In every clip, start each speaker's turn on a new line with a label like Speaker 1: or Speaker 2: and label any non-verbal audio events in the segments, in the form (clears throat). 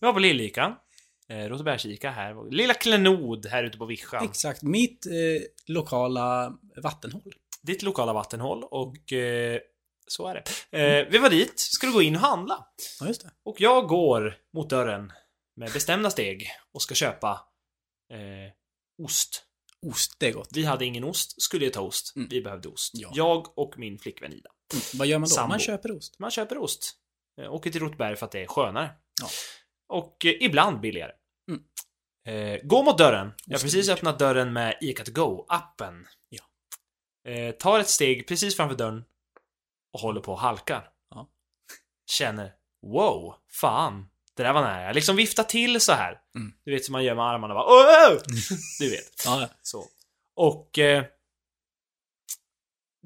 Speaker 1: Vi var på Lillika. Eh, Rosebergsika här. Lilla Klenod här ute på vischan.
Speaker 2: Exakt. Mitt eh, lokala vattenhål.
Speaker 1: ditt lokala vattenhål och eh, så är det.
Speaker 2: Mm.
Speaker 1: Eh, vi var dit, skulle gå in och handla.
Speaker 2: Ja, just det.
Speaker 1: Och jag går mot dörren med bestämda steg och ska köpa eh, ost.
Speaker 2: Ost, det är gott.
Speaker 1: Vi hade ingen ost, skulle jag ta ost.
Speaker 2: Mm.
Speaker 1: Vi behövde ost.
Speaker 2: Ja.
Speaker 1: Jag och min flickvän Ida.
Speaker 2: Mm. Vad gör man då?
Speaker 1: Sambo.
Speaker 2: Man köper ost.
Speaker 1: Man köper ost. Eh, Åker till Rotberg för att det är skönare.
Speaker 2: Ja.
Speaker 1: Och eh, ibland billigare. Eh, gå mot dörren. Jag har
Speaker 2: Ost är
Speaker 1: precis
Speaker 2: dyrt.
Speaker 1: öppnat dörren med Ica to Go-appen.
Speaker 2: Ja.
Speaker 1: Eh, tar ett steg precis framför dörren och håller på och halkar.
Speaker 2: Ja.
Speaker 1: Känner, wow, fan. Det där var nära. Jag liksom viftar till så här.
Speaker 2: Mm.
Speaker 1: Du vet som man gör med armarna bara, "Åh!"
Speaker 2: (laughs)
Speaker 1: Du vet.
Speaker 2: Ja,
Speaker 1: Så. Och... Eh,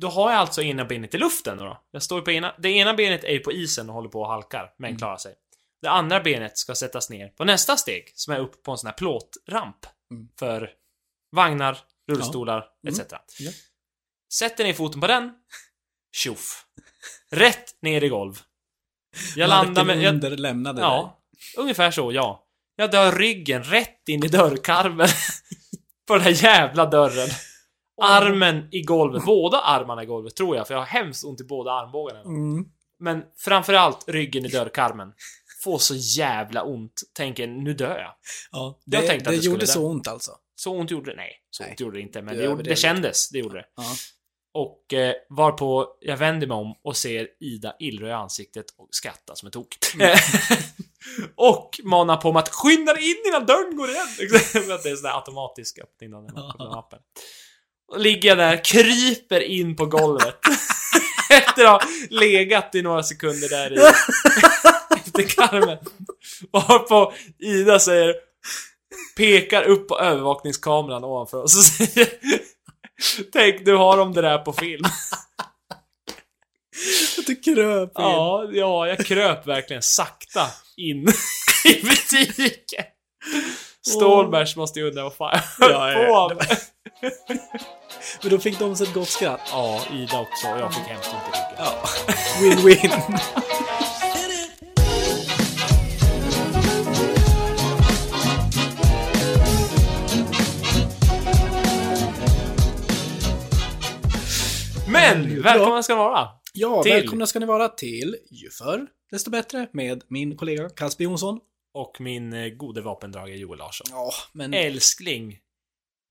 Speaker 1: då har jag alltså ena benet i luften då. då. Jag står på ena... Det ena benet är ju på isen och håller på och halkar, men
Speaker 2: Mm.
Speaker 1: klarar sig. Det andra benet ska sättas ner på nästa steg, som är upp på en sån här plåtramp.
Speaker 2: Mm.
Speaker 1: För vagnar, rullstolar,
Speaker 2: Ja. Mm.
Speaker 1: etc.
Speaker 2: Ja.
Speaker 1: Sätter ner foten på den. Tjoff. Rätt ner i golv. Jag
Speaker 2: Marken
Speaker 1: landar med... Jag,
Speaker 2: under lämnade dig.
Speaker 1: Ja, ungefär så, ja. Jag dör ryggen rätt in i dörrkarmen. (laughs) på den här jävla dörren. Armen i golvet, båda armarna i golvet tror jag, för jag har hemskt ont i båda armbågarna.
Speaker 2: Mm.
Speaker 1: Men framförallt ryggen i dörrkarmen. Får så jävla ont. Tänker, nu dör jag.
Speaker 2: Ja, det,
Speaker 1: Jag tänkte
Speaker 2: jag tänkte
Speaker 1: att det
Speaker 2: det,
Speaker 1: skulle
Speaker 2: gjorde
Speaker 1: där.
Speaker 2: så ont alltså. (laughs)
Speaker 1: Så ont gjorde det? Nej, så
Speaker 2: Nej.
Speaker 1: ont gjorde det inte. Men
Speaker 2: Du
Speaker 1: det, gjorde, det
Speaker 2: överdrev
Speaker 1: kändes, det gjorde det.
Speaker 2: Ja.
Speaker 1: Och eh, varpå jag vänder mig om och ser Ida illröd i ansiktet och skrattar som ett tok.
Speaker 2: Mm.
Speaker 1: (laughs) och manar på mig att skynda dig in innan dörren går igen! (laughs) Liksom, För att det är sån där automatisk öppning av den av den appen. Och ligger jag där, kryper in på golvet. (laughs) Efter att ha legat i några sekunder där i... (laughs) efter karmen. Varpå Ida säger... Pekar upp på övervakningskameran ovanför oss och säger... Tänk, nu har de det där på film.
Speaker 2: Du kröp in.
Speaker 1: Ja, ja, jag kröp verkligen sakta in (laughs) i butiken. Stålbergs måste ju undra vad fan jag
Speaker 2: Ja,
Speaker 1: höll
Speaker 2: ja,
Speaker 1: på med.
Speaker 2: Men då fick de sig ett gott skratt.
Speaker 1: Ja, Ida också. Och jag fick hemskt ont i ryggen.
Speaker 2: Ja. Win-win. (laughs)
Speaker 1: Men! Välkomna ska ni vara.
Speaker 2: Ja,
Speaker 1: Till.
Speaker 2: välkomna ska ni vara till Ju förr desto bättre med min kollega Casper Jonsson.
Speaker 1: Och min eh, gode vapendragare Joel Larsson.
Speaker 2: Ja, men
Speaker 1: Älskling.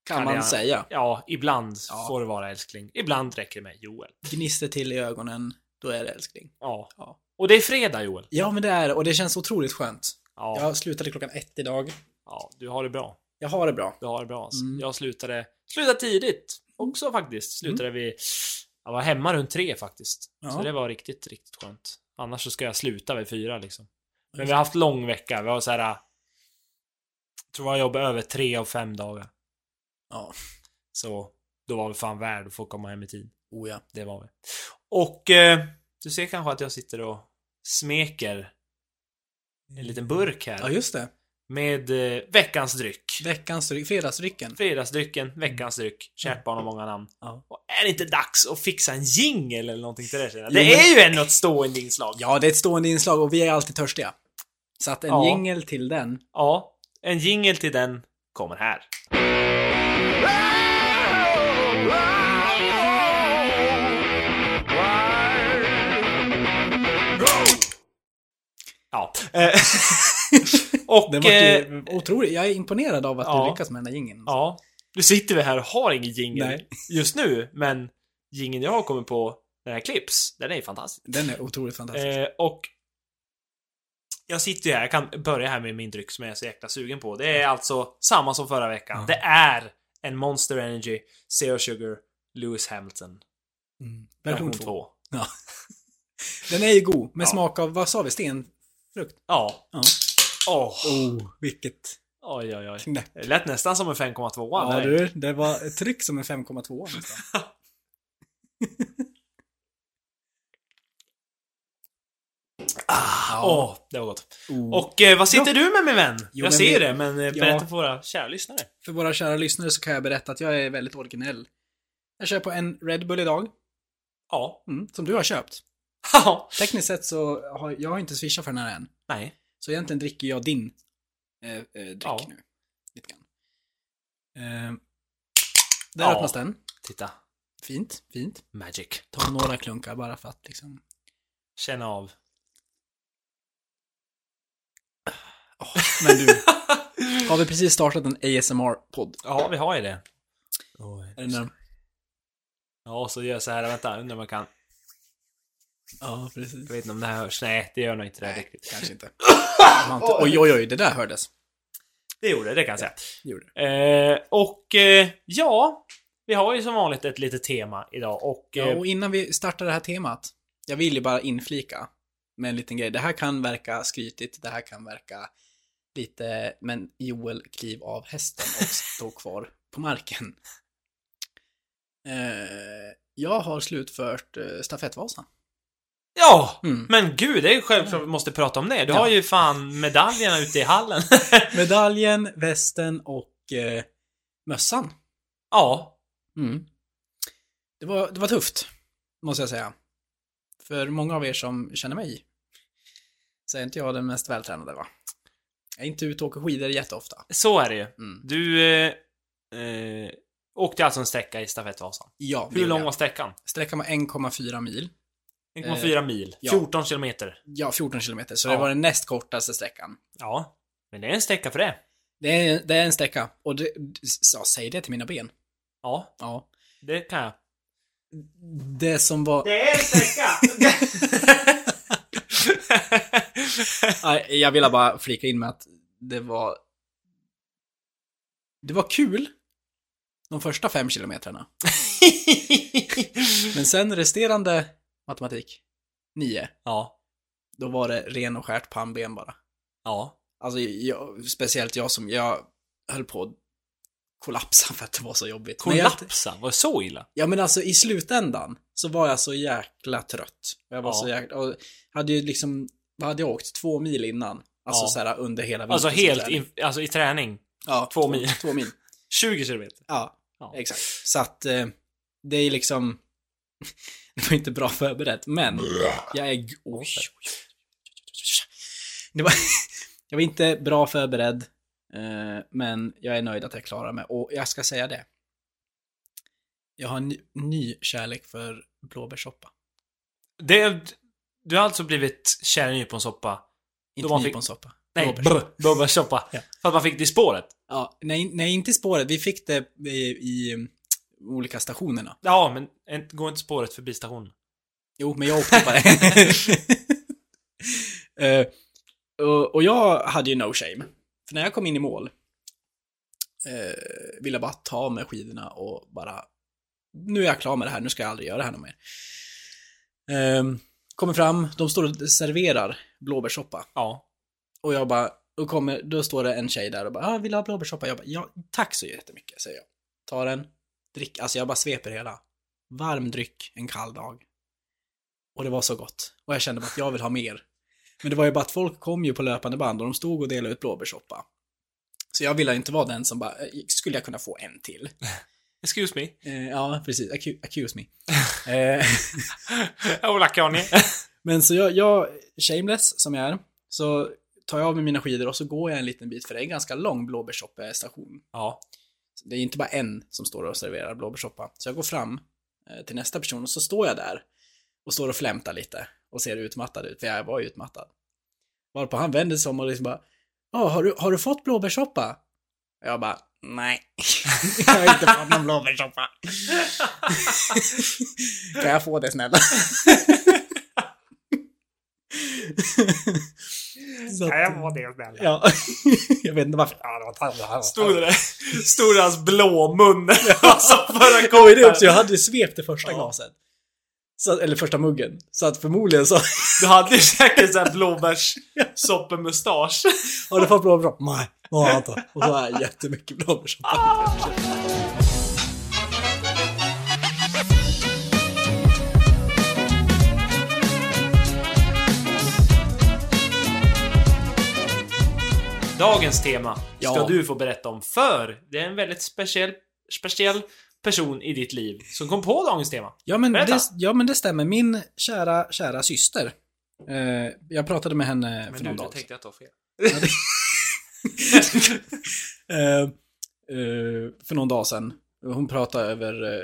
Speaker 2: kan
Speaker 1: kan
Speaker 2: man
Speaker 1: jag-
Speaker 2: säga.
Speaker 1: Ja, ibland
Speaker 2: Ja.
Speaker 1: får det vara älskling. Ibland räcker det med Joel.
Speaker 2: Gnister till i ögonen, då är det älskling.
Speaker 1: Ja.
Speaker 2: Ja.
Speaker 1: Och det är fredag Joel.
Speaker 2: Ja, men det är det, och det känns otroligt skönt.
Speaker 1: Ja.
Speaker 2: Jag slutade klockan ett idag.
Speaker 1: ja. Du har det bra.
Speaker 2: Jag har det bra.
Speaker 1: Du har det bra alltså.
Speaker 2: Mm.
Speaker 1: Jag slutade, slutade tidigt också faktiskt. Slutade vid, jag var hemma runt tre faktiskt. Så
Speaker 2: Mm. Ja.
Speaker 1: det var riktigt, riktigt skönt. Annars så ska jag sluta vid fyra liksom. Men vi har haft lång vecka. Vi har så här. äh, tror jag jobbar över tre av fem dagar.
Speaker 2: Ja.
Speaker 1: Så då var vi fan värd att få komma hem i tid.
Speaker 2: Oh ja.
Speaker 1: Det var vi. Och eh, du ser kanske att jag sitter och smeker en liten burk
Speaker 2: Ja,
Speaker 1: här.
Speaker 2: just det.
Speaker 1: Med eh, veckans dryck.
Speaker 2: Veckans dryck, fredagsdrycken.
Speaker 1: Fredagsdrycken, veckans dryck, kärt barn har många namn.
Speaker 2: Mm. Ja.
Speaker 1: Och är det inte dags att fixa en jingle eller någonting till det? känner jag?
Speaker 2: Jo,
Speaker 1: Det
Speaker 2: men-
Speaker 1: är ju ändå ett stående inslag.
Speaker 2: Ja, det är ett stående inslag och vi är alltid törstiga. Så att en
Speaker 1: Ja.
Speaker 2: jingel till
Speaker 1: (laughs)
Speaker 2: den. (laughs)
Speaker 1: Ja, en jingle till den kommer här. Ja. eh, Och...
Speaker 2: Den var
Speaker 1: eh,
Speaker 2: ju otrolig. Jag är imponerad av att
Speaker 1: ja.
Speaker 2: du lyckas med den där jingeln.
Speaker 1: Ja. Nu sitter vi här och har ingen jingel
Speaker 2: Nej.
Speaker 1: just nu, men jingeln jag har kommit på när jag klipps, den är ju fantastisk.
Speaker 2: Den är otroligt fantastisk.
Speaker 1: Eh, och jag sitter ju här, jag kan börja här med min dryck som jag är så jäkla sugen på. Det är alltså samma som förra veckan.
Speaker 2: Ja.
Speaker 1: Det är en Monster Energy Zero Sugar Lewis Hamilton.
Speaker 2: Mm.
Speaker 1: Version
Speaker 2: Version 2.
Speaker 1: 2.
Speaker 2: Den är ju god, med
Speaker 1: Ja.
Speaker 2: smak av, vad sa vi, stenfrukt?
Speaker 1: Ja.
Speaker 2: Ja.
Speaker 1: Åh.
Speaker 2: Oh, vilket
Speaker 1: Oj, oj, oj.
Speaker 2: knäpp.
Speaker 1: Det lät nästan som en 5,2.
Speaker 2: Ja,
Speaker 1: nej.
Speaker 2: du, det var ett tryck som en 5,2 nästan.
Speaker 1: Ah,
Speaker 2: Ja.
Speaker 1: Åh, det var gott.
Speaker 2: Oh.
Speaker 1: Och eh, vad sitter du med min vän?
Speaker 2: Jo,
Speaker 1: jag
Speaker 2: men
Speaker 1: ser
Speaker 2: vi-
Speaker 1: det, men eh, berätta för våra kära lyssnare.
Speaker 2: För våra kära lyssnare så kan jag berätta att jag är väldigt originell. Jag kör på en Red Bull idag,
Speaker 1: Ja.
Speaker 2: mm, som du har köpt.
Speaker 1: Ja.
Speaker 2: Tekniskt sett så har jag har inte swishat för den här än.
Speaker 1: (laughs) nej.
Speaker 2: Så egentligen dricker jag din eh, eh, dryck
Speaker 1: Ja.
Speaker 2: nu. Lite grann. Eh, där
Speaker 1: Ja.
Speaker 2: öppnas den.
Speaker 1: Titta.
Speaker 2: Fint, fint.
Speaker 1: Magic.
Speaker 2: Ta några klunkar bara för att liksom...
Speaker 1: Känn
Speaker 2: (laughs)
Speaker 1: av.
Speaker 2: (laughs) Men du, har vi precis startat en ASMR-podd?
Speaker 1: Ja, vi har ju det.
Speaker 2: Är det när...
Speaker 1: Ja, så gör jag så här. Vänta, undrar om jag kan...
Speaker 2: Ja, precis.
Speaker 1: Jag vet inte om det här hörs. Nej, det gör nog inte det
Speaker 2: Nej,
Speaker 1: riktigt.
Speaker 2: kanske (laughs) inte. Man inte- Oj, oj, oj, det där hördes.
Speaker 1: Det gjorde det, det kan jag säga.
Speaker 2: Det gjorde det.
Speaker 1: Eh, och eh, ja, vi har ju som vanligt ett litet tema idag och...
Speaker 2: Ja,
Speaker 1: Eh,
Speaker 2: och innan vi startar det här temat, jag vill ju bara inflika med en liten grej. Det här kan verka skrytigt, det här kan verka lite, men Joel kliv av hästen och stå kvar på marken. Eh, jag har slutfört eh, stafettvasan.
Speaker 1: ja! (laughs)
Speaker 2: Mm.
Speaker 1: Men gud, det är ju självklart vi måste prata om det. Du
Speaker 2: Ja.
Speaker 1: har ju fan medaljerna ute i hallen. (laughs)
Speaker 2: Medaljen, västen och eh, mössan.
Speaker 1: ja.
Speaker 2: Mm. Det, var, det var tufft, måste jag säga. För många av er som känner mig så är inte jag den mest vältränade va? Jag är inte ute och åker skidor jätteofta.
Speaker 1: Så är det ju.
Speaker 2: Mm.
Speaker 1: Du... Eh, eh, åkte alltså en sträcka i stafettvasan.
Speaker 2: Ja, det
Speaker 1: Hur
Speaker 2: gjorde
Speaker 1: lång
Speaker 2: jag.
Speaker 1: var sträckan?
Speaker 2: Sträckan var 1,4 mil.
Speaker 1: 1,4 mil.
Speaker 2: Eh, ja.
Speaker 1: 14 kilometer.
Speaker 2: Ja, 14 kilometer. Så
Speaker 1: Ja.
Speaker 2: det var den näst kortaste sträckan.
Speaker 1: Ja. Men det är en sträcka för det.
Speaker 2: Det är, det är en sträcka. Och det, ja, säg det till mina ben.
Speaker 1: Ja,
Speaker 2: Ja.
Speaker 1: det kan jag.
Speaker 2: Det som var...
Speaker 1: Det är en sträcka!
Speaker 2: (laughs) Nej, Jag ville bara flika in med att det var... Det var kul. De första fem kilometrarna. Men sen resterande matematik, nio,
Speaker 1: ja.
Speaker 2: då var det ren och skärt pannben bara.
Speaker 1: Ja.
Speaker 2: Alltså, jag, speciellt jag som, jag höll på att kollapsa för att det var så jobbigt. Men jag,
Speaker 1: Kollapsa? Var det så illa?
Speaker 2: ja men alltså i slutändan så var jag så jäkla trött. Jag var
Speaker 1: Ja.
Speaker 2: så jäkla, och hade ju liksom, vad hade jag åkt? Två mil innan. Alltså
Speaker 1: Ja.
Speaker 2: så här under hela
Speaker 1: Alltså
Speaker 2: vinterns
Speaker 1: helt
Speaker 2: träning.
Speaker 1: in, alltså i träning.
Speaker 2: ja,
Speaker 1: två mil.
Speaker 2: Två mil.
Speaker 1: 20 kilometer.
Speaker 2: Ja,
Speaker 1: Ja.
Speaker 2: exakt. Så att eh, det är liksom, (laughs) det var inte bra förberett, men jag är... g- Oj. Det var, (laughs) jag var inte bra förberedd, eh, men jag är nöjd att jag klarar mig. Och jag ska säga det. Jag har en ny, ny kärlek för blåbärssoppa.
Speaker 1: Det, du har alltså blivit kär i nyponsoppa? Då
Speaker 2: Inte
Speaker 1: man fick-
Speaker 2: nyponsoppa.
Speaker 1: Nej,
Speaker 2: Blåbärssoppa.
Speaker 1: brr, blåbärssoppa.
Speaker 2: Ja.
Speaker 1: För att man fick det i spåret?
Speaker 2: Ja, nej, nej, inte i spåret. Vi fick det i, i mm, olika stationerna.
Speaker 1: Ja, men en- går inte spåret förbi stationen?
Speaker 2: Jo, men jag åkte på det. (laughs) Eh, och, och jag hade ju no shame. För när jag kom in i mål eh, ville jag bara ta av mig skidorna och bara nu är jag klar med det här, nu ska jag aldrig göra det här något mer. Eh, kommer fram, de står och serverar blåbärssoppa.
Speaker 1: Ja.
Speaker 2: Och jag bara, då, kommer, då står det en tjej där och bara, ah, vill du ha blåbärssoppa? Jag bara, ja, tack så jättemycket, säger jag. Tar den, drick, alltså jag bara sveper hela. Varm dryck en kall dag. Och det var så gott. Och jag kände bara att jag vill ha mer. Men det var ju bara att folk kom ju på löpande band och de stod och delade ut blåbärssoppa. Så jag ville inte vara den som bara, "Eh, skulle jag kunna få en till?
Speaker 1: Excuse
Speaker 2: (laughs)
Speaker 1: me.
Speaker 2: Eh, ja, precis. Accu- accuse me. eh,
Speaker 1: Hola, Kanye.
Speaker 2: men så jag, jag, shameless som jag är, så tar jag av mig mina skidor och så går jag en liten bit, för det är en ganska lång blåbärssoppestation.
Speaker 1: Ja.
Speaker 2: Det är inte bara en som står och serverar blåbärssoppa. Så jag går fram eh, till nästa person och så står jag där och står och flämtar lite och ser utmattad ut, för jag var ju utmattad. Varpå han vänder sig om och liksom bara, ja, har du, har du fått blåbärssoppa? Och Jag bara, nej. (laughs) jag har inte fått någon blåbärssoppa. kan jag få det snälla? Så att-
Speaker 1: det snälla?
Speaker 2: Ja, (laughs) jag vet inte varför.
Speaker 1: Stod det där. Stod det hans blåmun. (laughs) Alltså förra
Speaker 2: Ja, och det
Speaker 1: gången.
Speaker 2: också. Jag hade ju svept det första
Speaker 1: Ja.
Speaker 2: glaset. Så, eller första muggen. Så att förmodligen så (laughs)
Speaker 1: Du hade ju säkert såhär blåbärssoppemustasch.
Speaker 2: har du fått blåbärssoppa. Nej, det har jag inte. Och så har jag jättemycket blåbärssoppa.
Speaker 1: Dagens tema ska
Speaker 2: Ja.
Speaker 1: du få berätta om för det är en väldigt speciell, speciell person i ditt liv som kom på dagens tema.
Speaker 2: Ja men,
Speaker 1: Berätta.
Speaker 2: det, ja men det stämmer. Min kära, kära syster Eh, jag pratade med henne
Speaker 1: Men
Speaker 2: för
Speaker 1: nu,
Speaker 2: någon
Speaker 1: nu
Speaker 2: dag sedan.
Speaker 1: tänkte jag ta fel.
Speaker 2: (laughs) Eh, eh, för någon dag sedan. Hon pratade över, eh,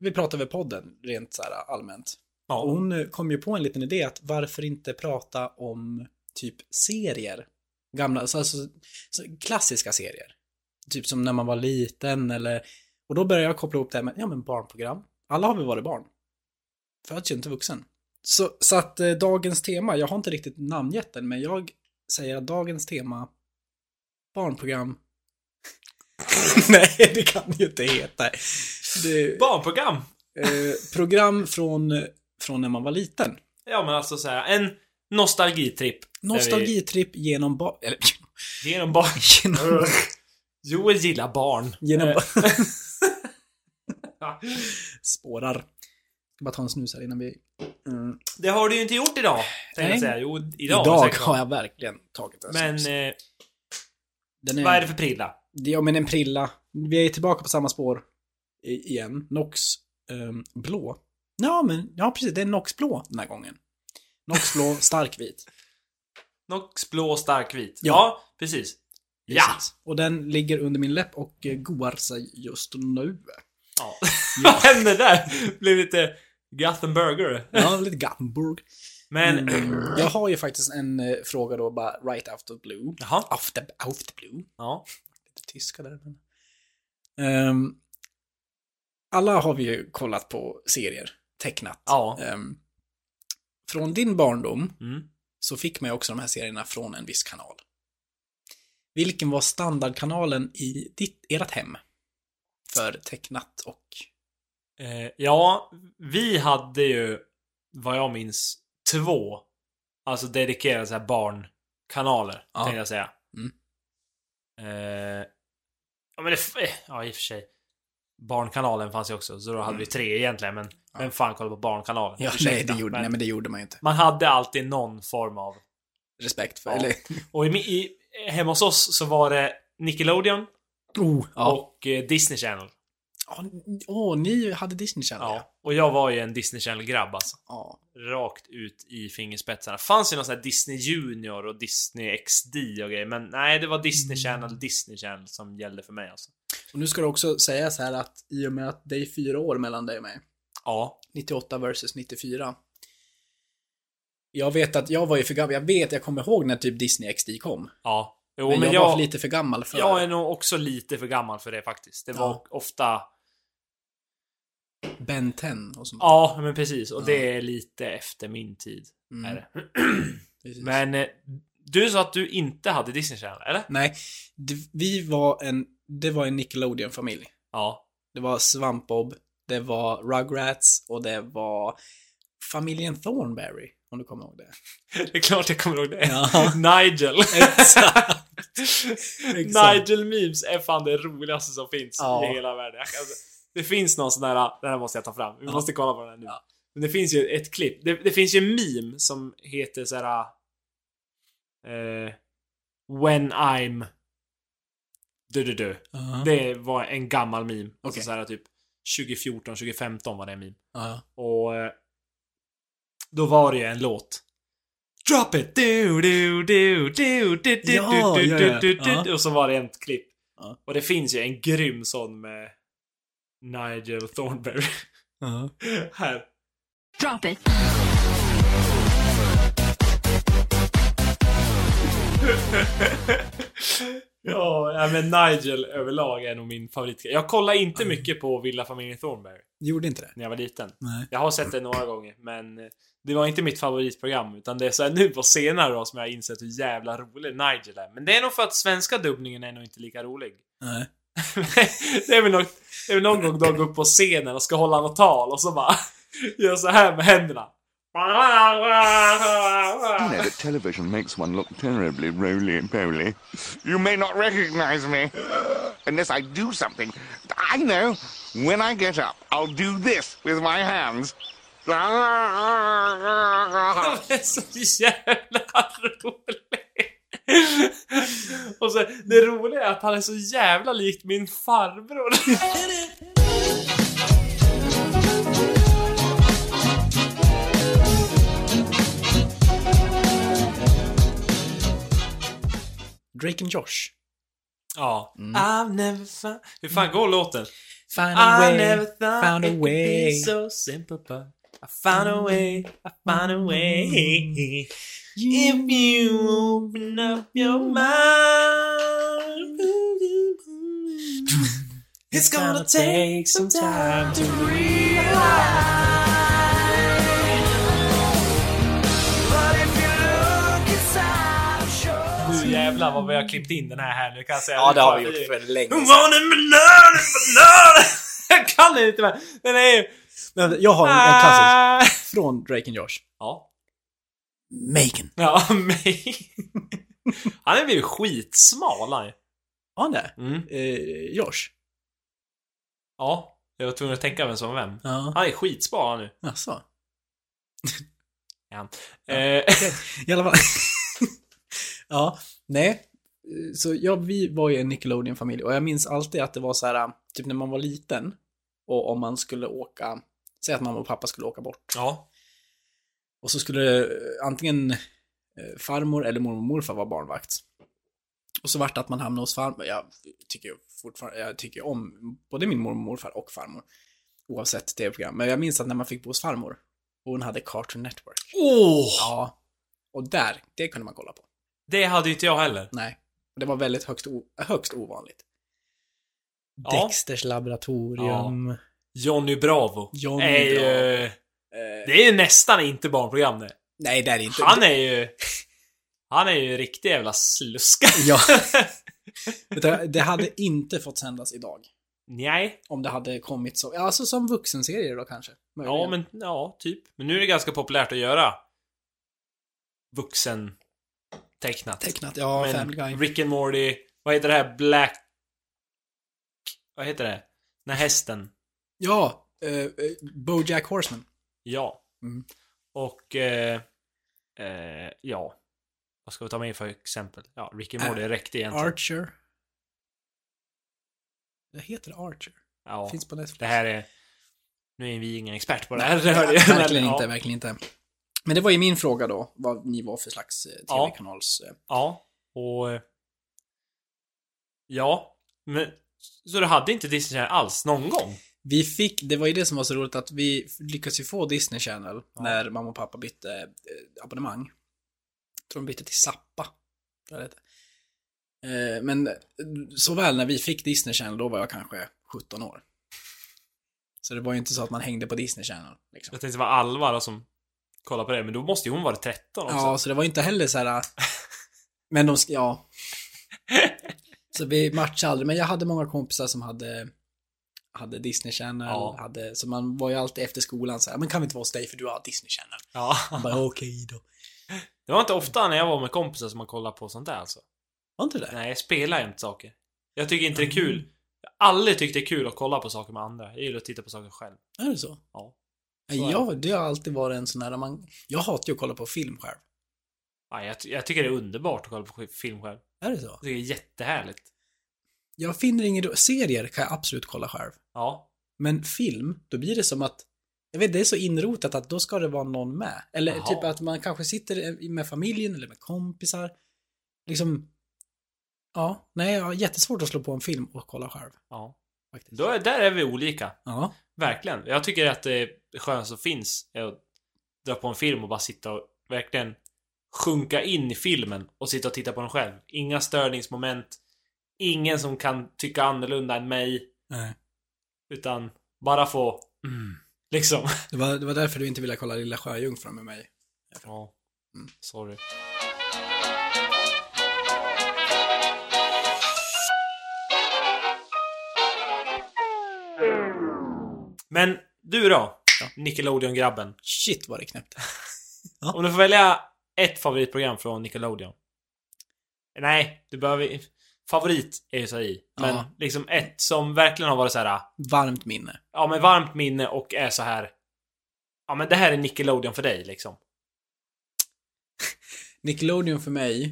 Speaker 2: vi pratade över podden rent så här allmänt. Och
Speaker 1: Ja.
Speaker 2: hon eh, kom ju på en liten idé att varför inte prata om typ serier? Gamla, så- alltså, så, klassiska serier. Typ som när man var liten eller... Och då började jag koppla ihop det här med, ja men barnprogram. Alla har vi varit barn. Föds ju inte vuxen. Så, så att eh, dagens tema, jag har inte riktigt namngett den, men jag säger att dagens tema, barnprogram. (laughs) Nej, det kan ju inte heta. Det,
Speaker 1: Barnprogram!
Speaker 2: eh, program från, från när man var liten.
Speaker 1: Ja men alltså så här, en nostalgitripp.
Speaker 2: Nostalgitripp genom barn... Eller
Speaker 1: (laughs) Genom (laughs) barn.
Speaker 2: genom...
Speaker 1: Joel gillar barn.
Speaker 2: genom
Speaker 1: Eh,
Speaker 2: (laughs) spårar. Ska bara ta en snus här innan vi... Mm.
Speaker 1: Det har du ju inte gjort idag. Tänkte
Speaker 2: Nej.
Speaker 1: jag säga. Jo, idag.
Speaker 2: Idag,
Speaker 1: säkert.
Speaker 2: har jag verkligen tagit en
Speaker 1: Men
Speaker 2: snus.
Speaker 1: eh,
Speaker 2: Den är,
Speaker 1: vad är det för prilla?
Speaker 2: Ja, men en prilla. Vi är tillbaka på samma spår i- igen. Nox ehm, blå. Ja, men ja, precis. Det är Nox blå den här gången.
Speaker 1: (laughs)
Speaker 2: Nox blå, starkvit.
Speaker 1: Nox blå starkvit. Ja,
Speaker 2: Ja.
Speaker 1: precis. Ja!
Speaker 2: Precis. Och den ligger under min läpp och eh, goar sig
Speaker 1: (laughs)
Speaker 2: just nu.
Speaker 1: ja.
Speaker 2: Ja.
Speaker 1: Vad hände där? Blev lite Gothenburger.
Speaker 2: Ja, lite Gothenburg.
Speaker 1: Men...
Speaker 2: Mm. (clears throat) Jag har ju faktiskt en eh, fråga då bara right out of blue.
Speaker 1: Jaha.
Speaker 2: Out of, out of blue.
Speaker 1: Ja.
Speaker 2: Lite tyska där. Men. Ehm, alla har vi ju kollat på serier, tecknat.
Speaker 1: Ja.
Speaker 2: Ehm, från din barndom
Speaker 1: Mm.
Speaker 2: så fick man ju också de här serierna från en viss kanal. Vilken var standardkanalen i ditt, ert hem? För tecknat och...
Speaker 1: Eh, ja, vi hade ju, vad jag minns, två alltså dedikerade så här barnkanaler,
Speaker 2: Ja.
Speaker 1: tänkte jag säga.
Speaker 2: Mm.
Speaker 1: Eh, ja, men det, f- eh, ja, i och för sig. Barnkanalen fanns ju också, så då hade vi tre egentligen, men
Speaker 2: Mm. Ja.
Speaker 1: vem fan kollade på Barnkanalen?
Speaker 2: nej,
Speaker 1: Ursäkta,
Speaker 2: det gjorde,
Speaker 1: men
Speaker 2: nej, men det gjorde man ju inte.
Speaker 1: Man hade alltid någon form av...
Speaker 2: Respekt för...
Speaker 1: Ja.
Speaker 2: Eller...
Speaker 1: Och i, mi- i, hemma hos oss så var det Nickelodeon
Speaker 2: (laughs) Oh, ja.
Speaker 1: och eh, Disney Channel.
Speaker 2: Åh, ni- åh, ni hade Disney Channel, ja.
Speaker 1: Ja. Och jag var ju en Disney Channel-grabb alltså.
Speaker 2: ja.
Speaker 1: rakt ut i fingerspetsarna. Fanns ju någon sån här Disney Junior och Disney XD och grejer, men nej, det var
Speaker 2: Mm.
Speaker 1: Disney Channel, Disney Channel som gällde för mig alltså.
Speaker 2: Och nu ska det också sägas här att i och med att det är fyra år mellan dig och mig,
Speaker 1: Ja.
Speaker 2: 98 versus 94. Jag vet att jag var ju för gammal, jag vet, jag kommer ihåg när typ Disney XD kom.
Speaker 1: Ja. Jo,
Speaker 2: men,
Speaker 1: men,
Speaker 2: jag, var
Speaker 1: jag,
Speaker 2: för lite för gammal för
Speaker 1: jag är nog också lite för gammal för det faktiskt. Det var
Speaker 2: Ja.
Speaker 1: ofta...
Speaker 2: Ben 10 och sånt.
Speaker 1: Ja, men precis. Och
Speaker 2: Ja.
Speaker 1: det är lite efter min tid.
Speaker 2: Mm, (clears throat)
Speaker 1: Är det.
Speaker 2: precis.
Speaker 1: Men eh, du sa att du inte hade Disney Channel, eller?
Speaker 2: Nej, det, vi var en, det var en Nickelodeon-familj.
Speaker 1: Ja. (laughs)
Speaker 2: Det var SvampBob, det var Rugrats och det var familjen Thornberry, om du kommer ihåg det.
Speaker 1: Det är klart jag kommer ihåg det.
Speaker 2: Ja.
Speaker 1: (laughs) Nigel.
Speaker 2: Exakt.
Speaker 1: (laughs)
Speaker 2: Exakt.
Speaker 1: Nigel memes är fan det roligaste som finns
Speaker 2: Ja.
Speaker 1: i hela världen. Jag kan- Alltså, det finns någon sån här, den här måste jag ta fram. Vi
Speaker 2: Ja.
Speaker 1: måste kolla på den här nu.
Speaker 2: Ja.
Speaker 1: Men det finns ju ett klipp. Det, det finns ju en meme som heter så här. Eh, When I'm... Du, du, du.
Speaker 2: (laughs) Ja.
Speaker 1: Det var en gammal meme. Alltså
Speaker 2: Okej.
Speaker 1: så här typ 2014, 2015 var det en meme.
Speaker 2: Ja.
Speaker 1: Och eh, då var det ju en låt. Drop it! Du, du, du, du, du, du,
Speaker 2: Ja,
Speaker 1: du,
Speaker 2: ja,
Speaker 1: du,
Speaker 2: ja.
Speaker 1: du, du,
Speaker 2: Ja.
Speaker 1: Och så var det ett klipp.
Speaker 2: Ja.
Speaker 1: Och det finns ju en grym sån med Nigel Thornberry. (laughs)
Speaker 2: Ja.
Speaker 1: Här.
Speaker 3: Drop it.
Speaker 1: (laughs) Ja, ja, men Nigel överlag är nog min favorit. Jag kollar inte mycket på Villa familjen Thornberry
Speaker 2: Gjorde inte det?
Speaker 1: när jag var liten.
Speaker 2: Nej.
Speaker 1: Jag har sett det några gånger, men eh, det var inte mitt favoritprogram. Utan det är så här nu på senare då som jag har insett hur jävla rolig Nigel är. Men det är nog för att svenska dubbningen är nog inte lika rolig. (laughs)
Speaker 2: Nej.
Speaker 1: det är väl något, det är väl någon gång de går upp på scenen och ska hålla något tal och så bara (laughs) gör så här med händerna.
Speaker 4: You know that television makes one look terribly roly-poly. You may not recognize me unless I do something. I know. When I get up, I'll do this with my hands.
Speaker 1: Det är så jävla rolig! Och så, det roliga är att han är så jävla likt min farbror.
Speaker 2: Drake and Josh.
Speaker 1: Ja. I've never found... Hur fan går låten?
Speaker 2: Find a
Speaker 1: I
Speaker 2: way.
Speaker 1: never thought
Speaker 2: found a
Speaker 1: it could
Speaker 2: way.
Speaker 1: be so simple, but I found a way, I found a way. If you open up your mind, it's gonna take some time to realize. Nu jävlar vad vi har klippt in den här här, nu kan jag säga.
Speaker 2: Ja, det har vi gjort för länge
Speaker 1: Hon
Speaker 2: sedan.
Speaker 1: var en banana, banana. Jag kan inte mer. Den är ju...
Speaker 2: Men Jag har en, en klassisk. Från Drake and Josh.
Speaker 1: Ja.
Speaker 2: Macon.
Speaker 1: Ah. Ja, (laughs) mig. Han är blivit skitsmal han ju.
Speaker 2: Har han det?
Speaker 1: Mm.
Speaker 2: Eh, Josh?
Speaker 1: Ja. Jag var tvungen att tänka vem som var vem.
Speaker 2: Ja.
Speaker 1: Han är skitsmal han nu.
Speaker 2: Alltså.
Speaker 1: Är han. Eh, (laughs)
Speaker 2: I alla fall. (laughs) ja, nej. Så ja, vi var ju en Nickelodeon-familj och jag minns alltid att det var så här, typ när man var liten och om man skulle åka, säg att mamma och pappa skulle åka bort
Speaker 1: ja.
Speaker 2: och så skulle eh, antingen eh, farmor eller mormor och morfar vara barnvakt. Och så vart det att man hamnade hos farmor. Jag tycker ju fortfarande, jag tycker ju om både min mormor och morfar och farmor. Oavsett tv-program. Men jag minns att när man fick bo hos farmor och hon hade Cartoon Network.
Speaker 1: Åh!
Speaker 2: Ja. Och där, det kunde man kolla på.
Speaker 1: Det hade ju inte jag heller.
Speaker 2: Nej. Det var väldigt högst, o- högst ovanligt.
Speaker 1: Ja.
Speaker 2: Dexters laboratorium.
Speaker 1: Johnny Bravo.
Speaker 2: Johnny
Speaker 1: är ju,
Speaker 2: Bravo. Eh,
Speaker 1: Det är ju nästan inte barnprogram det.
Speaker 2: nej, det är det inte.
Speaker 1: Han är ju... Han är ju riktig jävla sluska. (laughs)
Speaker 2: Ja. Utan det hade inte fått sändas idag.
Speaker 1: Nej.
Speaker 2: Om det hade kommit så, alltså som vuxenserier då kanske. Möjligen.
Speaker 1: Ja, men ja, typ. Men nu är det ganska populärt att göra vuxen tecknat.
Speaker 2: Tecknat, ja,
Speaker 1: men
Speaker 2: Family Guy.
Speaker 1: Rick and Morty, vad heter det här Black... Vad heter det? När hästen.
Speaker 2: Ja, eh, eh, Bojack Horseman.
Speaker 1: Ja.
Speaker 2: Mm.
Speaker 1: Och... Eh, eh, ja. Vad ska vi ta med för exempel? Ja, Rick and
Speaker 2: Äh,
Speaker 1: Morty räckte egentligen.
Speaker 2: Archer. Det heter Archer.
Speaker 1: ja.
Speaker 2: Finns på Netflix.
Speaker 1: Det
Speaker 2: (laughs)
Speaker 1: här är... Nu är vi ingen expert på det här. det hör jag. Men,
Speaker 2: verkligen
Speaker 1: ja.
Speaker 2: inte, verkligen inte. Men det var ju min fråga då, vad ni var för slags eh, tv-kanals... eh,
Speaker 1: Ja, och... eh, Ja, men... Så du hade inte Disney Channel alls någon gång?
Speaker 2: Vi fick, det var ju det som var så roligt att vi lyckades ju få Disney Channel
Speaker 1: Ja.
Speaker 2: när mamma och pappa bytte eh, abonnemang. Jag tror de bytte till Zappa. tror jag det hette. Eh, Men eh, såväl när vi fick Disney Channel, då var jag kanske 17 år. Så det var ju inte så att man hängde på Disney Channel. Liksom.
Speaker 1: Jag tänkte det var Alva då som kollade på det, men då måste ju hon vara 13 också.
Speaker 2: Ja, så det var ju inte heller så här. eh, Men de, sk- ja. Så vi matchade aldrig, men jag hade många kompisar som hade hade Disney Channel,
Speaker 1: Ja.
Speaker 2: hade, så man var ju alltid efter skolan så här, men kan vi inte vara hos dig för du har Disney Channel?
Speaker 1: Ja.
Speaker 2: bara
Speaker 1: (laughs)
Speaker 2: okej då.
Speaker 1: Det var inte ofta när jag var med kompisar som man kollade på sånt där alltså.
Speaker 2: Var inte det?
Speaker 1: Nej, jag spelar inte saker. Jag tycker inte det är kul. Jag har aldrig tyckt det är kul att kolla på saker med andra. Jag gillar att titta på saker själv.
Speaker 2: Är det så?
Speaker 1: Ja.
Speaker 2: Nej,
Speaker 1: Så är
Speaker 2: jag, det har alltid varit en sån här, man, jag hatar ju att kolla på film själv.
Speaker 1: Ja, jag, ty- jag tycker det är underbart att kolla på sk- film själv.
Speaker 2: Är det så?
Speaker 1: Jag tycker det är jättehärligt.
Speaker 2: Jag finner ingen ro- serier kan jag absolut kolla själv.
Speaker 1: Ja.
Speaker 2: Men film, då blir det som att, jag vet det är så inrotat att då ska det vara någon med. Eller
Speaker 1: Jaha.
Speaker 2: typ att man kanske sitter med familjen eller med kompisar. Liksom, ja, nej, jag har jättesvårt att slå på en film och kolla själv.
Speaker 1: Ja.
Speaker 2: Faktiskt.
Speaker 1: Då är, där är vi olika.
Speaker 2: Ja,
Speaker 1: Verkligen. Jag tycker att det skönaste som finns är att dra på en film och bara sitta och verkligen sjunka in i filmen och sitta och titta på den själv. Inga störningsmoment. Ingen som kan tycka annorlunda än mig.
Speaker 2: nej.
Speaker 1: Utan bara få... Mm, liksom.
Speaker 2: Det var, det var därför du inte ville kolla Lilla Sjöjungfrun med mig.
Speaker 1: (laughs) Ja. Mm, Sorry. Men du då? Nickelodeon-grabben.
Speaker 2: Shit vad det knäppte.
Speaker 1: Om du får välja ett favoritprogram från Nickelodeon. Nej, du behöver... Favorit är ju så i. Men
Speaker 2: Ja.
Speaker 1: liksom ett som verkligen har varit så här.
Speaker 2: Varmt minne.
Speaker 1: Ja, men varmt minne och är så här. Ja, men det här är Nickelodeon för dig liksom.
Speaker 2: Nickelodeon för mig.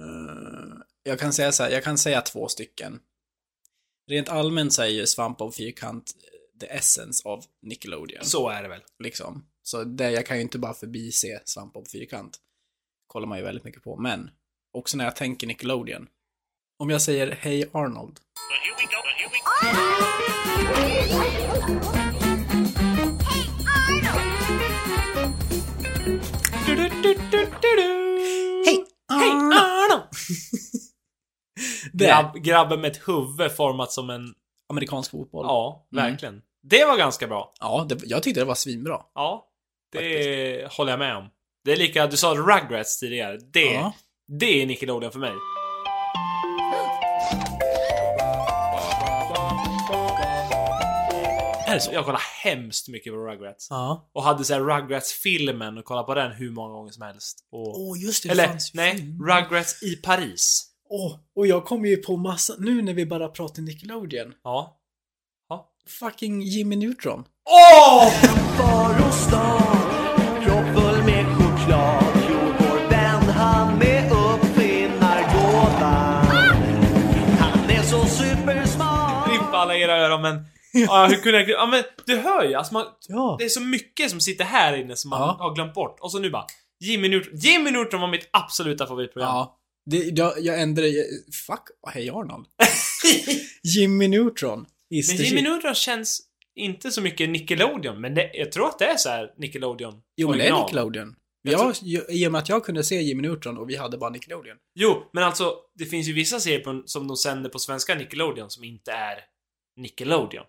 Speaker 2: eh, jag kan säga så här, jag kan säga två stycken. Rent allmänt så är ju Svamp av Fyrkant eh, the essence av Nickelodeon.
Speaker 1: Så är det väl.
Speaker 2: Liksom. Så det, jag kan ju inte bara förbise Svamp av Fyrkant. Kollar man ju väldigt mycket på, men också när jag tänker Nickelodeon. Om jag säger Hej Arnold. Hej
Speaker 1: Arnold!
Speaker 2: Ah, Det är
Speaker 1: Grabb, grabben med ett huvud format som en...
Speaker 2: amerikansk fotboll.
Speaker 1: Ja,
Speaker 2: Mm.
Speaker 1: verkligen. Det var ganska bra.
Speaker 2: Ja, det, jag tyckte det var svinbra.
Speaker 1: Ja, det håller jag med om. Det är lika, du sa Rugrats tidigare. Det,
Speaker 2: Ja.
Speaker 1: det är Nickelodeon för mig.
Speaker 2: Är det så?
Speaker 1: Jag kollade hemskt mycket på Rugrats.
Speaker 2: Ja.
Speaker 1: Och hade såhär Rugrats-filmen och kollade på den hur många gånger som helst. Och,
Speaker 2: Åh, just det. det
Speaker 1: eller,
Speaker 2: fanns ju
Speaker 1: nej,
Speaker 2: film.
Speaker 1: Rugrats i Paris.
Speaker 2: Åh, och jag kommer ju på massa, nu när vi bara pratar Nickelodeon.
Speaker 1: Ja.
Speaker 2: Fucking Jimmy Neutron.
Speaker 1: Åh!
Speaker 2: Ah.
Speaker 1: Rippa alla era öron
Speaker 2: (laughs)
Speaker 1: men... Ja, hur kunde jag... Ja men du hör ju, alltså man,
Speaker 2: Ja.
Speaker 1: Det är så mycket som sitter här inne som man
Speaker 2: Ja.
Speaker 1: har glömt bort. Och så nu bara... Jimmy Neutron. Jimmy Neutron var mitt absoluta favoritprogram.
Speaker 2: Ja. Det, jag, jag ändrade, jag- fuck,
Speaker 1: (laughs)
Speaker 2: hej Arnold. Jimmy Neutron. Is
Speaker 1: men
Speaker 2: the
Speaker 1: Jimmy
Speaker 2: shit.
Speaker 1: Neutron känns inte så mycket Nickelodeon. Men det, jag tror att det är så här Nickelodeon.
Speaker 2: Jo, men det är
Speaker 1: original.
Speaker 2: Nickelodeon.
Speaker 1: Jag
Speaker 2: Jag, jag, I och med att jag kunde se Jimmy Neutron och vi hade bara Nickelodeon.
Speaker 1: Jo, men alltså det finns ju vissa serier på, som de sänder på svenska Nickelodeon som inte är Nickelodeon.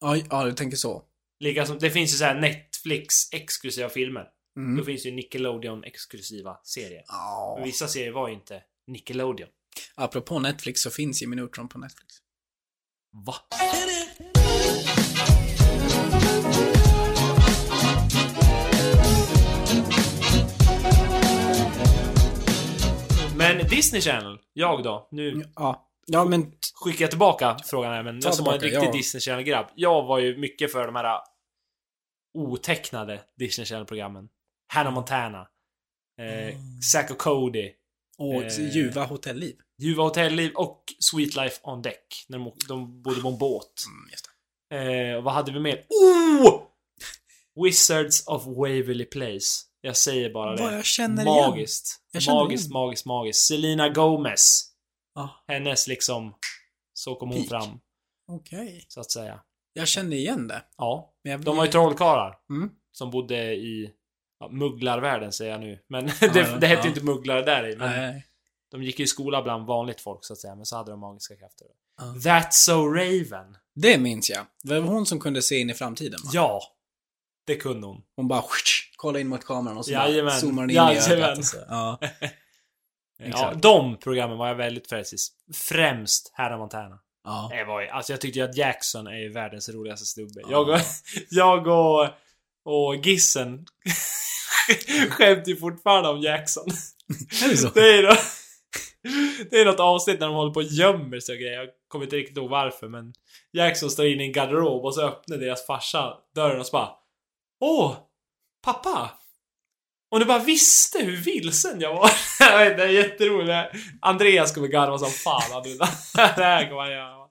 Speaker 2: Ja, ja du tänker så.
Speaker 1: Lika som, det finns ju så här Netflix exklusiva filmer.
Speaker 2: Mm.
Speaker 1: Då finns det ju Nickelodeon exklusiva serier. Men
Speaker 2: Ja.
Speaker 1: vissa serier var ju inte Nickelodeon.
Speaker 2: Apropå Netflix så finns Jimmy Neutron på Netflix.
Speaker 1: Va? Men Disney Channel, jag då? Nu
Speaker 2: Ja. Ja, men
Speaker 1: skickar jag tillbaka frågan här, men
Speaker 2: Ta
Speaker 1: jag som var en
Speaker 2: tillbaka,
Speaker 1: riktig
Speaker 2: ja.
Speaker 1: Disney Channel-grabb. Jag var ju mycket för de här äh, otecknade Disney Channel-programmen.
Speaker 2: Mm.
Speaker 1: Hannah Montana. Eh, Zack och Cody.
Speaker 2: Och
Speaker 1: Eh.
Speaker 2: ljuva hotellliv.
Speaker 1: Ljuva hotellliv och Sweet Life on Deck. När de, de bodde på en båt.
Speaker 2: Mm, just det.
Speaker 1: Eh, och vad hade vi mer? Oh! Wizards of Waverly Place. Jag säger bara det.
Speaker 2: Vad jag känner igen.
Speaker 1: magiskt.
Speaker 2: Jag känner
Speaker 1: magiskt,
Speaker 2: igen.
Speaker 1: magiskt, magiskt. Selena Gomez.
Speaker 2: Ja,
Speaker 1: Hennes liksom... Så kom hon
Speaker 2: Peak.
Speaker 1: fram,
Speaker 2: okej.
Speaker 1: så att säga.
Speaker 2: Jag känner igen det.
Speaker 1: Ja.
Speaker 2: Men jag,
Speaker 1: De var ju trollkarlar.
Speaker 2: Mm.
Speaker 1: Som bodde i... Ja, mugglarvärlden säger jag nu. Men (laughs)
Speaker 2: ja,
Speaker 1: det, det hette
Speaker 2: ja.
Speaker 1: ju inte mugglare där i. Men
Speaker 2: Nej.
Speaker 1: de gick ju i skola bland vanligt folk så att säga. Men så hade de magiska krafter.
Speaker 2: Ja.
Speaker 1: That's so Raven.
Speaker 2: Det minns jag. Det var hon som kunde se in i framtiden va?
Speaker 1: Ja. Det kunde hon.
Speaker 2: Hon bara "Skitsch", kollade in mot kameran och så bara
Speaker 1: Jajamän.
Speaker 2: zoomade hon in i
Speaker 1: Jajamän.
Speaker 2: ögat. och så- Ja.
Speaker 1: Ja,
Speaker 2: Exakt.
Speaker 1: de programmen var jag väldigt frälsig. Främst Hannah Montana.
Speaker 2: Ja.
Speaker 1: (laughs) Det var ju, alltså jag tyckte ju att Jackson är ju världens roligaste snubbe.
Speaker 2: Ja.
Speaker 1: Jag och, jag och, och Gissen (laughs) skämtar ju fortfarande om Jackson.
Speaker 2: Är det så?
Speaker 1: Det är, då, det är något (laughs) avsnitt när de håller på och gömmer sig och grejer. Jag kommer inte riktigt ihåg varför men Jackson står inne i en garderob och så öppnar deras farsa dörren och så bara Åh! Pappa! Om du bara visste hur vilsen jag var. (laughs) jag vet, det är jätteroligt. Andreas kommer garva som fan. Han undrar, (laughs) det här kommer han göra.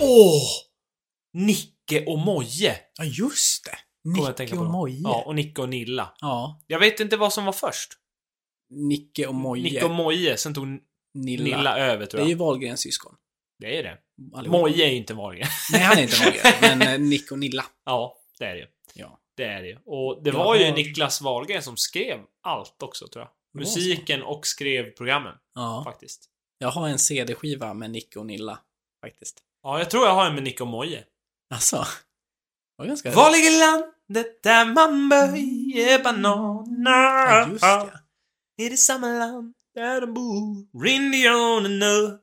Speaker 1: Åh! Nicke och Moje.
Speaker 2: Ja, just det.
Speaker 1: kommer jag att tänka
Speaker 2: Nicke
Speaker 1: på
Speaker 2: och
Speaker 1: då.
Speaker 2: Moje.
Speaker 1: Ja, och Nicke och Nilla.
Speaker 2: Ja.
Speaker 1: Jag vet inte vad som var först.
Speaker 2: Nicke och Moje.
Speaker 1: Nicke och Moje, sen tog
Speaker 2: Nilla.
Speaker 1: Nilla, över
Speaker 2: Det
Speaker 1: tror
Speaker 2: är
Speaker 1: jag.
Speaker 2: ju Wahlgrens syskon.
Speaker 1: Det är det.
Speaker 2: Allihop.
Speaker 1: Moje är ju inte Morgan.
Speaker 2: Nej, han är inte
Speaker 1: (laughs)
Speaker 2: Wahlgren. Men eh, Nick och Nilla.
Speaker 1: ja, det är det ju.
Speaker 2: Ja.
Speaker 1: Det är det ju. Och det
Speaker 2: Jag
Speaker 1: var ju
Speaker 2: har-
Speaker 1: Niklas Wahlgren som skrev allt också tror jag.
Speaker 2: Det var så.
Speaker 1: Musiken och skrev programmen
Speaker 2: ja.
Speaker 1: faktiskt.
Speaker 2: Jag har en CD-skiva med Nicke och Nilla. Faktiskt.
Speaker 1: Ja, jag tror jag har en med Nick och Moje.
Speaker 2: Alltså. Det var ganska...
Speaker 1: Var ligger landet där man böjer
Speaker 2: Mm. Ja,
Speaker 1: bananer?
Speaker 2: just det.
Speaker 1: Är det samma land där de bor? Indianerna.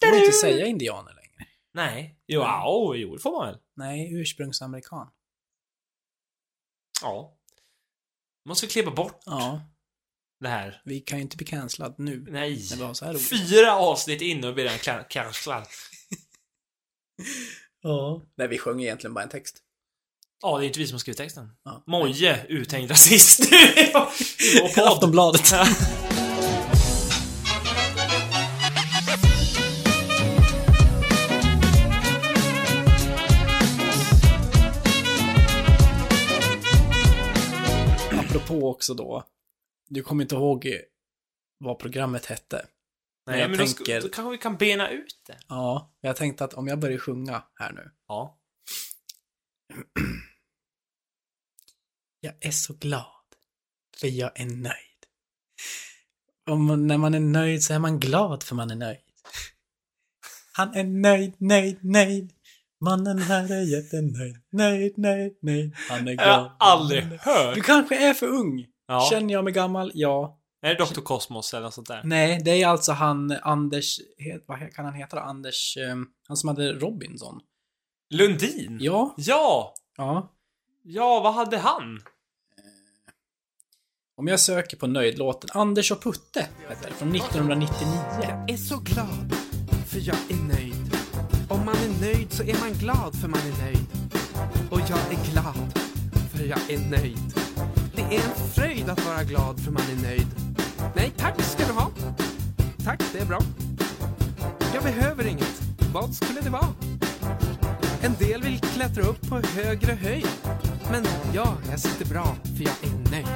Speaker 2: Jag får inte säga indianer längre.
Speaker 1: Nej. Jo, ja, jo, det får man väl.
Speaker 2: Nej, ursprungsamerikan.
Speaker 1: Ja. Måste vi klippa bort
Speaker 2: Ja,
Speaker 1: det här?
Speaker 2: vi kan ju inte bli cancellad nu.
Speaker 1: Nej.
Speaker 2: När vi har så här roligt.
Speaker 1: Fyra avsnitt in och blir den kla- cancellad.
Speaker 2: Ja. Nej, vi sjöng egentligen bara en text.
Speaker 1: Ja, det är inte vi som har skrivit texten.
Speaker 2: Ja.
Speaker 1: Moje, uthängd rasist. (laughs) och podd.
Speaker 2: Aftonbladet. också då, du kommer inte ihåg vad programmet hette.
Speaker 1: Nej,
Speaker 2: jag
Speaker 1: men då, sk-
Speaker 2: tänker-
Speaker 1: då kanske vi kan bena ut det.
Speaker 2: Ja, jag tänkte att om jag börjar sjunga här nu.
Speaker 1: Ja.
Speaker 2: Jag är så glad, för jag är nöjd. Och man, när man är nöjd så är man glad för man är nöjd. Han är nöjd, nöjd, nöjd. Mannen här är jättenöjd, nöjd, nöjd, nöjd. Han är
Speaker 1: Jag
Speaker 2: glad.
Speaker 1: har aldrig
Speaker 2: Du
Speaker 1: hört.
Speaker 2: kanske är för ung.
Speaker 1: Ja.
Speaker 2: Känner jag mig gammal? Ja.
Speaker 1: Är det Dr. Cosmos eller något sånt där?
Speaker 2: Nej, det är alltså han Anders, he- vad he- kan han heta då? Anders, ehm, han som hade Robinson.
Speaker 1: Lundin?
Speaker 2: Ja.
Speaker 1: Ja!
Speaker 2: Ja.
Speaker 1: Ja, vad hade han?
Speaker 2: Om jag söker på nöjdlåten, Anders och Putte heter det, från 1999.
Speaker 3: är så glad, för jag är nöjd. Om man är nöjd så är man glad, för man är nöjd. Och jag är glad, för jag är nöjd. Det är en fröjd att vara glad, för man är nöjd. Nej, tack ska du ha. Tack, det är bra. Jag behöver inget. Vad skulle det vara? En del vill klättra upp på högre höjd. Men ja, jag sitter bra, för jag är nöjd.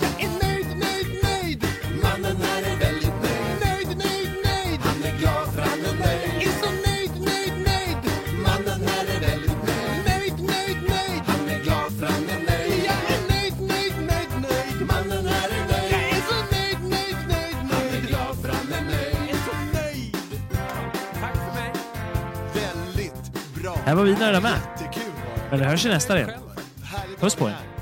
Speaker 3: Jag är nöjd, nöjd, nöjd. Mannen här är väldigt nöjd. Nöjd, nöjd, nöjd. Han är glad för han är nöjd. Är så nöjd, nöjd, nöjd. Mannen här är väldigt nöjd. Nöjd, nöjd, nöjd. Han är glad för han är nöjd. Jag är nöjd, nöjd, nöjd, nöjd. Mannen här är nöjd. Jag är så nöjd, nöjd, nöjd, nöjd. Han är glad för han är nöjd. Är så nöjd. Tack för mig.
Speaker 5: Väldigt bra.
Speaker 6: Här var vi nöjda med.
Speaker 5: Jättekul var det.
Speaker 6: Men det hörs i nästa del.
Speaker 5: Härligt att
Speaker 6: Puss på
Speaker 5: vara
Speaker 6: er.
Speaker 5: här.